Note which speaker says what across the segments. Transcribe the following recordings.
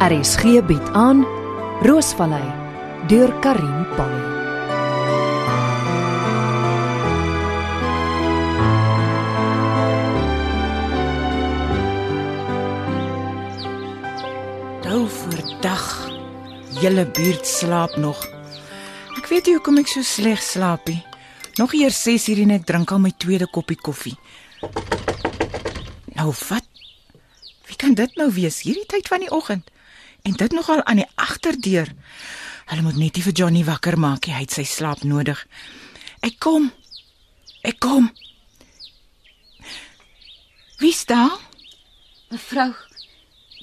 Speaker 1: RSG bied aan Roosvallei deur Karin Pan.
Speaker 2: Dou vir dag. Julle buurt slaap nog. Ek weet nie hoekom ek so sleg slaap nie. Nog eers 6 uur en ek drink al my tweede koppie koffie. Nou wat? Wie kan dit nou wees hierdie tyd van die oggend? En dit nogal aan die agterdeur. Hulle moet net nie vir Johnny wakker maak nie. Hy het sy slaap nodig. Ek kom. Ek kom. Wie's daar?
Speaker 3: Mevrou,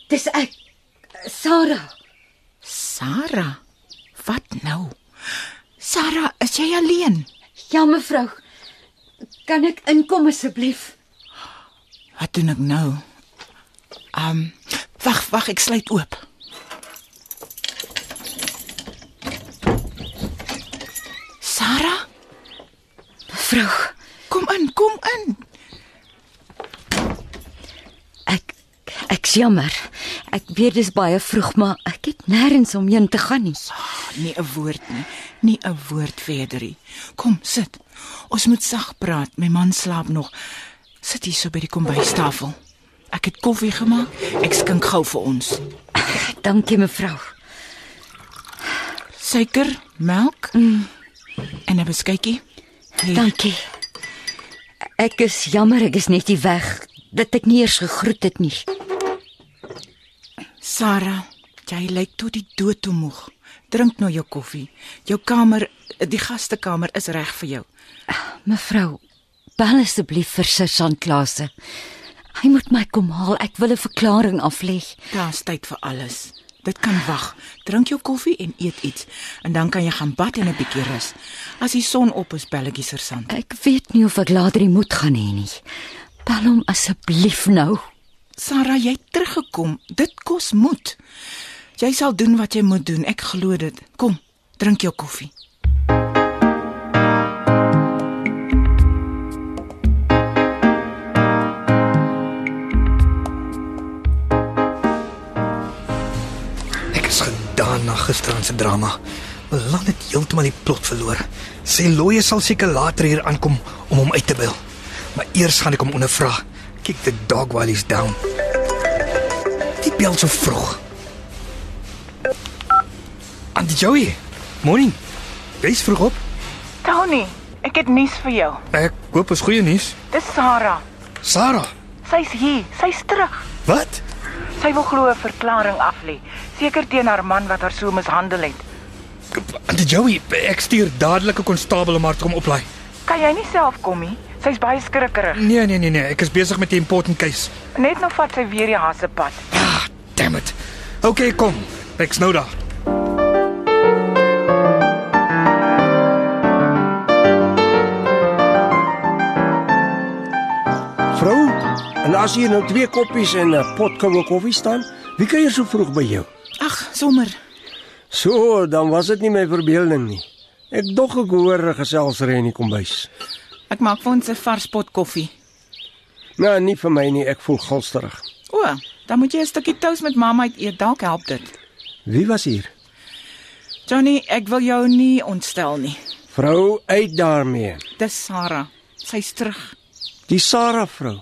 Speaker 3: dis ek, Sarah.
Speaker 2: Sarah. Wat nou? Sarah, is jy alleen?
Speaker 3: Ja, mevrou. Kan ek inkom asseblief?
Speaker 2: Wat doen ek nou? Ehm, um, wag, wag, ek sluit oop. Sarah,
Speaker 3: Mevrou,
Speaker 2: kom in, kom in.
Speaker 3: ek ek's jammer. Ek weet dis baie vroeg, maar ek het nêrens omheen te gaan nie.
Speaker 2: Ah, Nie 'n woord nie, nie 'n woord verderie. Kom, sit. Ons moet sag praat. My man slaap nog. Sit hier so by die kombuistafel. Ek het koffie gemaak. Ek skink gou vir ons.
Speaker 3: Dankie, mevrou.
Speaker 2: Suiker, melk mm. en 'n beskuitjie. Hier.
Speaker 3: Dankie. Ek is jammer ek is net nie weg dat ek nie eers gegroet het nie.
Speaker 2: Sarah, jy lyk tot die dood toe moeg. Drink nou jou koffie. Jou kamer, die gastekamer is reg vir jou.
Speaker 3: Mevrou, bel asseblief vir Susan Klase. Hy moet my kom haal. Ek wil 'n verklaring aflê.
Speaker 2: Daar's tyd vir alles. Dit kan wag. Drink jou koffie en eet iets en dan kan jy gaan bad en 'n bietjie rus. As die son op is, belletjies versand.
Speaker 3: Ek weet nie of ek later die moed gaan hê nie. Bel hom asseblief nou.
Speaker 2: Sarah, jy het teruggekom. Dit kos moed. Jy sal doen wat jy moet doen. Ek glo dit. Kom, drink jou koffie.
Speaker 4: Ek is gedaan na gisterand se drama. Melan het heeltemal die plot verloor. Sy loye sal seker later hier aankom om hom uit te byl. Maar eers gaan ek hom ondervra. Kyk the dog while he's down. Die bel so vroeg. Auntie Joey. Morning. Jy's vroeg op?
Speaker 2: Tony, ek het nuus vir jou.
Speaker 4: Ek hoop is goeie nuus.
Speaker 2: Dis Sarah.
Speaker 4: Sarah,
Speaker 2: Sy's hier. Sy's terug.
Speaker 4: wat?
Speaker 2: Sy wil glo 'n verklaring af lê, seker teen haar man wat haar so mishandel het.
Speaker 4: Auntie Joey, ek stuur dadelik 'n konstabel om haar te kom oplaai.
Speaker 2: Kan jy nie self kom nie? Sy's baie skrikkerig.
Speaker 4: Nee, nee, nee, nee, ek is besig met die important case.
Speaker 2: Net nou vat sy weer die hassepad.
Speaker 4: Ah, damn it. Okay, kom. Ek's nou daar.
Speaker 5: Vrou, en as hier nou twee koppies en 'n pot koue koffie staan, wie kuier so vroeg by jou?
Speaker 2: Ag, sommer.
Speaker 5: So, dan was dit nie my verbeelding nie. Ek dog ek hoor 'n geselsery in die kombuis.
Speaker 2: Ek maak vir ons 'n vars pot koffie.
Speaker 5: Nou, nie vir my nie, ek voel gulsterig.
Speaker 2: O, dan moet jy 'n stukkie toast met mamma uit eet. Dalk help dit.
Speaker 5: Wie was hier?
Speaker 2: Johnny, ek wil jou nie ontstel nie.
Speaker 5: Vrou, uit daarmee.
Speaker 2: Dis Sarah. Sy's terug.
Speaker 5: Die Sarah vrou.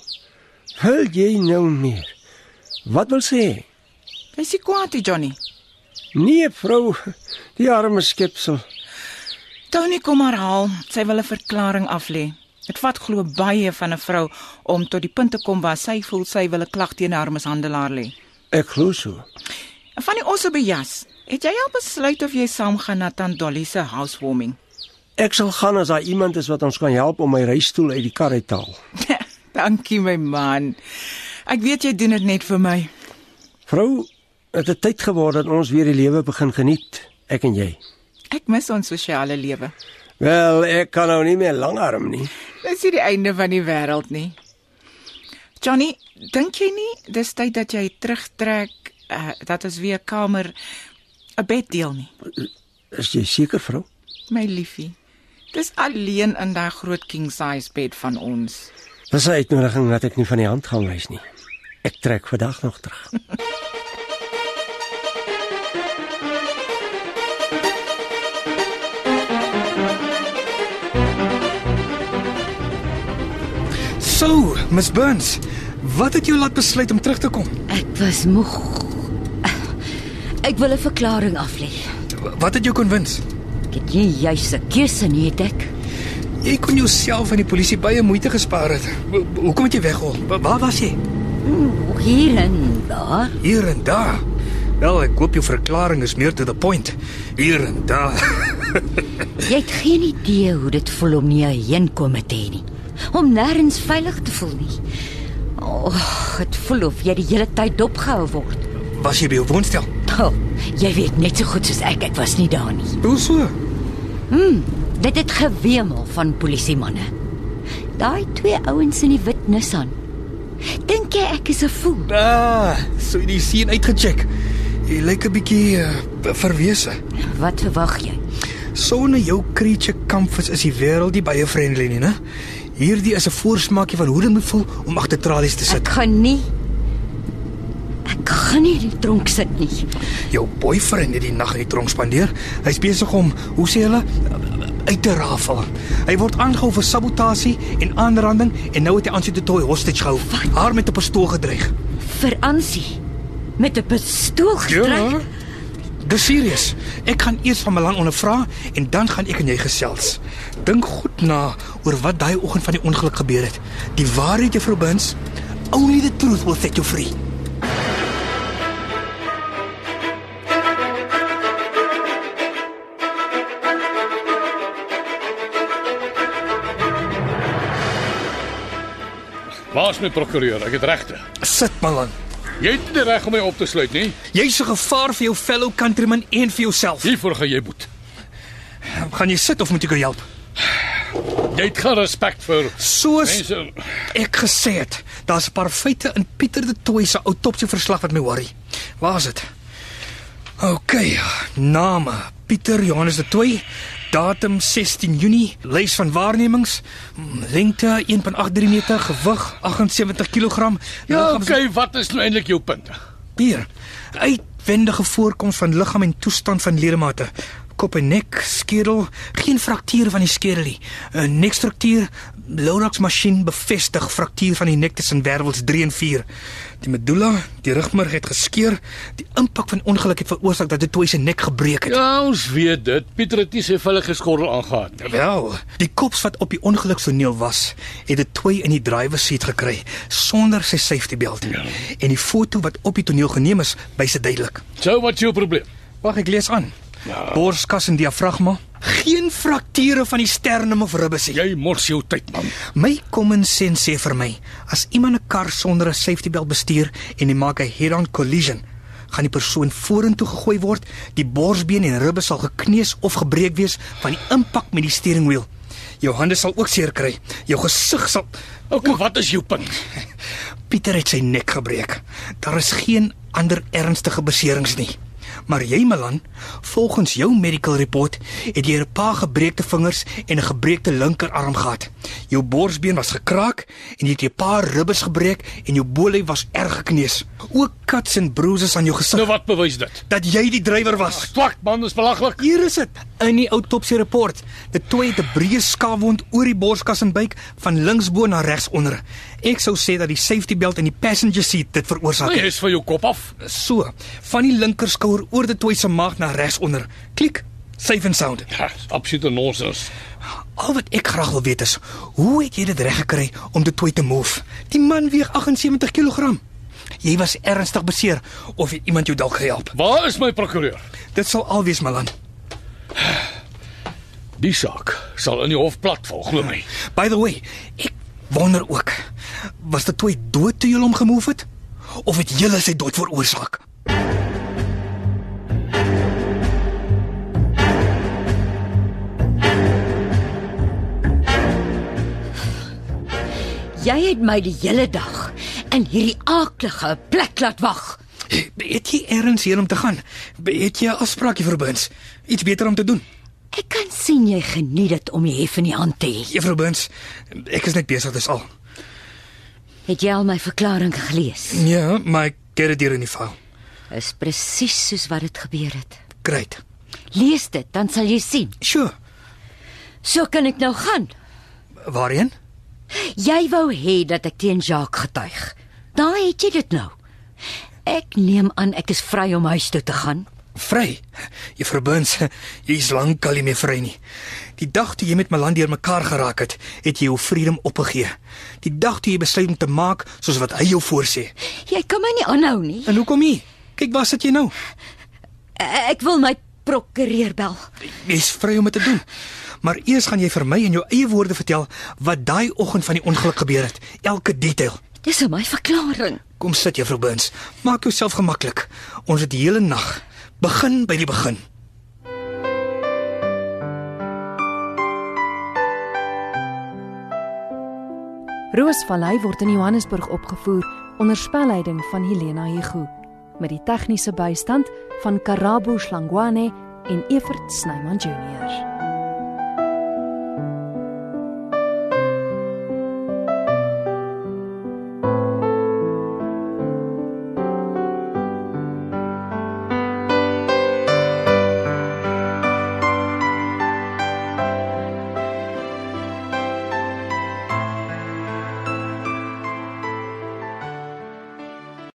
Speaker 5: Wil jy nou meer? Wat wil sê?
Speaker 2: Jy's nie kwaad, nie, Johnny.
Speaker 5: Nee, vrou, die arme skepsel.
Speaker 2: Tony kom maar haal. Sy wil 'n verklaring af lê. Dit vat glo baie van 'n vrou om tot die punt te kom waar sy voel sy wil 'n klag teen haar mishandelaar lê.
Speaker 5: Ek glo so.
Speaker 2: En van die ossebejas, het jy al besluit of jy saam gaan na Tant Dolly se housewarming?
Speaker 5: Ek sal gaan as daar iemand is wat ons kan help om my reistoel uit die kar uit te haal.
Speaker 2: Dankie my man. Ek weet jy doen dit net vir my.
Speaker 5: Vrou, dit het tyd geword dat ons weer die lewe begin geniet, ek en jy.
Speaker 2: Ek mis ons sosiale lewe.
Speaker 5: Wel, ek kan nou nie meer langarm nie.
Speaker 2: Dis nie die einde van die wêreld nie. Johnny, dink jy nie dis tyd dat jy terugtrek uh, dat ons weer 'n kamer 'n bed deel nie?
Speaker 5: Is jy seker, vrou?
Speaker 2: My liefie. Dis alleen in daai groot king size bed van ons.
Speaker 5: Dis 'n uitnodiging dat ek nie van die hand gaan wys nie. Ek trek vandag nog terug.
Speaker 4: So, Miss Burns, wat het jou laat besluit om terug te kom?
Speaker 3: Ek was moeg. Ek wil 'n verklaring aflê.
Speaker 4: Wat het jou kon wins?
Speaker 3: Ek het nie juis 'n keuse nie, het ek.
Speaker 4: Jy kon jouself aan die polisie baie moeite gespaar het. Ho- Hoekom het jy weggehol? Wa- Waar was jy?
Speaker 3: Oeh, Hmm, Hier en daar.
Speaker 4: Hier en daar. Wel, ek koop jou verklaring is meer to the point. Hier en daar.
Speaker 3: Jy het geen idee hoe dit voel om nie 'n heenkome te hê nie. Om nêrens veilig te voel nie. O, oh, dit voel of jy die hele tyd dopgehou word.
Speaker 4: Was jy by jou woonstel?
Speaker 3: Oh, jy weet net so goed soos ek, ek was nie daar nie.
Speaker 4: Hoe so?
Speaker 3: Dit het gewemel van polisiemanne. Daai twee ouens in die wit Nissan. Dink jy ek is 'n fool?
Speaker 4: Ah, so jy die sien uitgecheck. Jy lyk 'n bietjie uh, verwese.
Speaker 3: Wat verwag jy?
Speaker 4: Sonder jou creature comforts is die wêreld nie baie friendly nie, né? Hierdie is 'n voorsmaakie van hoe dit moet voel om agter tralies te sit.
Speaker 3: Ek gaan nie Ek gaan nie in die tronk sit nie.
Speaker 4: Jou boyfriend het die nag in die tronk spandeer. Hy's besig om, hoe sê hulle, uit te rafel. Hy word aangehou vir sabotasie en aanranding en nou het hy Ansie Totoy hostage gehou. Haar met 'n pistool gedreig.
Speaker 3: Vir Ansie met 'n pistool gestryk.
Speaker 4: Dis serieus. Ek gaan eers van Milan ondervra en dan gaan ek en jy gesels. Dink goed na oor wat daai oggend van die ongeluk gebeur het. Die waarheid, Juffrou Bins, only the truth will set you free.
Speaker 6: Waar's my prokureur? Ek het regte.
Speaker 4: Sit, Milan.
Speaker 6: Jy het nie die reg om my op te sluit nie.
Speaker 4: Jy's 'n gevaar vir jou fellow countrymen en vir jouself.
Speaker 6: Hiervoor gaan jy boet.
Speaker 4: Gaan jy sit of moet ek jou help?
Speaker 6: Jy het geen respek vir
Speaker 4: Soos
Speaker 6: mense.
Speaker 4: ek gesê het, daar's 'n paar feite in Pieter de Tooy se autopsieverslag wat my worry. Waar is dit? OK, name Pieter Johannes de Tooy, datum 16 Junie, lys van waarnemings, mm, lengte 1.83 meter, gewig 78 kg.
Speaker 6: Ja,
Speaker 4: liggaams-
Speaker 6: okay, wat is nou eintlik jou punt?
Speaker 4: Pier. Uitwendige voorkoms van liggaam en toestand van ledemate. Kop en nek, skedel, geen fraktuur van die skedel nie. 'n Nekstruktuur, Lorax masjien bevestig fraktuur van die nek tussen wervels 3 en 4. Die medulla, die rugmurg het geskeur. Die impak van ongeluk het veroorsaak dat dit toe sy nek gebreek het.
Speaker 6: Ja, ons weet dit. Pieter het nie sy vellige skorrel aangegaan nie.
Speaker 4: Wel, die kops wat op die ongelukstoneel was, het dit twee in die driver seat gekry sonder sy safety belt. Ja. En die foto wat op die toneel geneem is, wys dit duidelik.
Speaker 6: So wat is jou probleem?
Speaker 4: Wag, ek lees aan. Borskas en diafragma. Geen frakture van die sternum of ribbes nie.
Speaker 6: Jy mors jou tyd, man.
Speaker 4: My common sense sê vir my, as iemand 'n kar sonder 'n safety belt bestuur en hy maak 'n head-on collision, gaan die persoon vorentoe gegooi word, die borsbeen en ribbes sal gekneus of gebreek wees van die impak met die steering wheel. Jou hande sal ook seer kry. Jou gesig sal
Speaker 6: Okay, wat is jou punt?
Speaker 4: Pieter het sy nek gebreek. Daar is geen ander ernstige beserings nie. Maar jy Milan, volgens jou medical report het jy 'n paar gebreekte vingers en 'n gebreekte linkerarm gehad. Jou borsbeen was gekraak en jy het 'n paar ribbes gebreek en jou bolie was erg gekneus. Ook cuts en bruises aan jou gesig
Speaker 6: Nou wat bewys dit?
Speaker 4: dat jy die drywer was.
Speaker 6: Swak man, dis belaglik.
Speaker 4: Hier is dit in die autopsie rapport. Dit toe het 'n breë skaafwond oor die borskas en buik van linksbo na regsonder. Ek sou sê dat die safety belt in die passenger seat dit veroorsaak
Speaker 6: Jy
Speaker 4: het.
Speaker 6: is van jou kop af.
Speaker 4: So, van die linkerskouer oor die toe se maag na regsonder. Klik. Safe and sound.
Speaker 6: Ja, dis absolute nonsens.
Speaker 4: Al wat ek graag wil weet is, hoe het jy dit reg gekry om die toe te move? Die man weeg 78 kg. Jy was ernstig beseer of het iemand jou dalk gehelp.
Speaker 6: Waar is my prokureur?
Speaker 4: Dit sal al wees, Malan.
Speaker 6: Die saak sal in die hof platval, glo my.
Speaker 4: By the way, ek wonder ook, was dit toe hy dood toe julle hom gemove het of het julle sy dood veroorsaak?
Speaker 3: Jy het my die hele dag in hierdie aaklige plek laat wag.
Speaker 4: Het jy ergens heen om te gaan? Het jy 'n afspraakie vir Burns? Iets beter om te doen?
Speaker 3: Ek kan sien jy geniet dit om die hef in die hand te hê.
Speaker 4: Juffrou Burns, ek is net besig dis al.
Speaker 3: Het jy al my verklaring gelees?
Speaker 4: Ja, maar ek get dit hier in die file.
Speaker 3: Is presies soos wat dit gebeur het.
Speaker 4: Great.
Speaker 3: Lees dit, dan sal jy sien.
Speaker 4: Sure.
Speaker 3: So kan ek nou gaan.
Speaker 4: Waarheen?
Speaker 3: Jy wou hê dat ek teen Jacques getuig. Daar het jy dit nou. Ek neem aan ek is vry om huis toe te gaan.
Speaker 4: Vry. Juffrou Burns, jy is lank al nie meer vry nie. Die dag toe jy met Malan deur mekaar geraak het, het jy jou freedom opgegee. Die dag toe jy besluit om te maak soos wat hy jou voorsê.
Speaker 3: Jy kan my nie aanhou nie.
Speaker 4: En hoekom nie? Kyk, waar sit jy nou?
Speaker 3: E- Ek wil my prokureur bel.
Speaker 4: Jy's vry om dit te doen. Maar eers gaan jy vir my in jou eie woorde vertel wat daai oggend van die ongeluk gebeur het. Elke detail.
Speaker 3: Dis in my verklaring.
Speaker 4: Kom sit, Juffrou Burns. Maak jouself gemaklik. Ons het die hele nag. Begin by die begin.
Speaker 1: Roosvallei word in Johannesburg opgevoer onder spelleiding van Helena Hugo met die tegniese bystand van Karabo Slangwane en Evert Snyman Junior.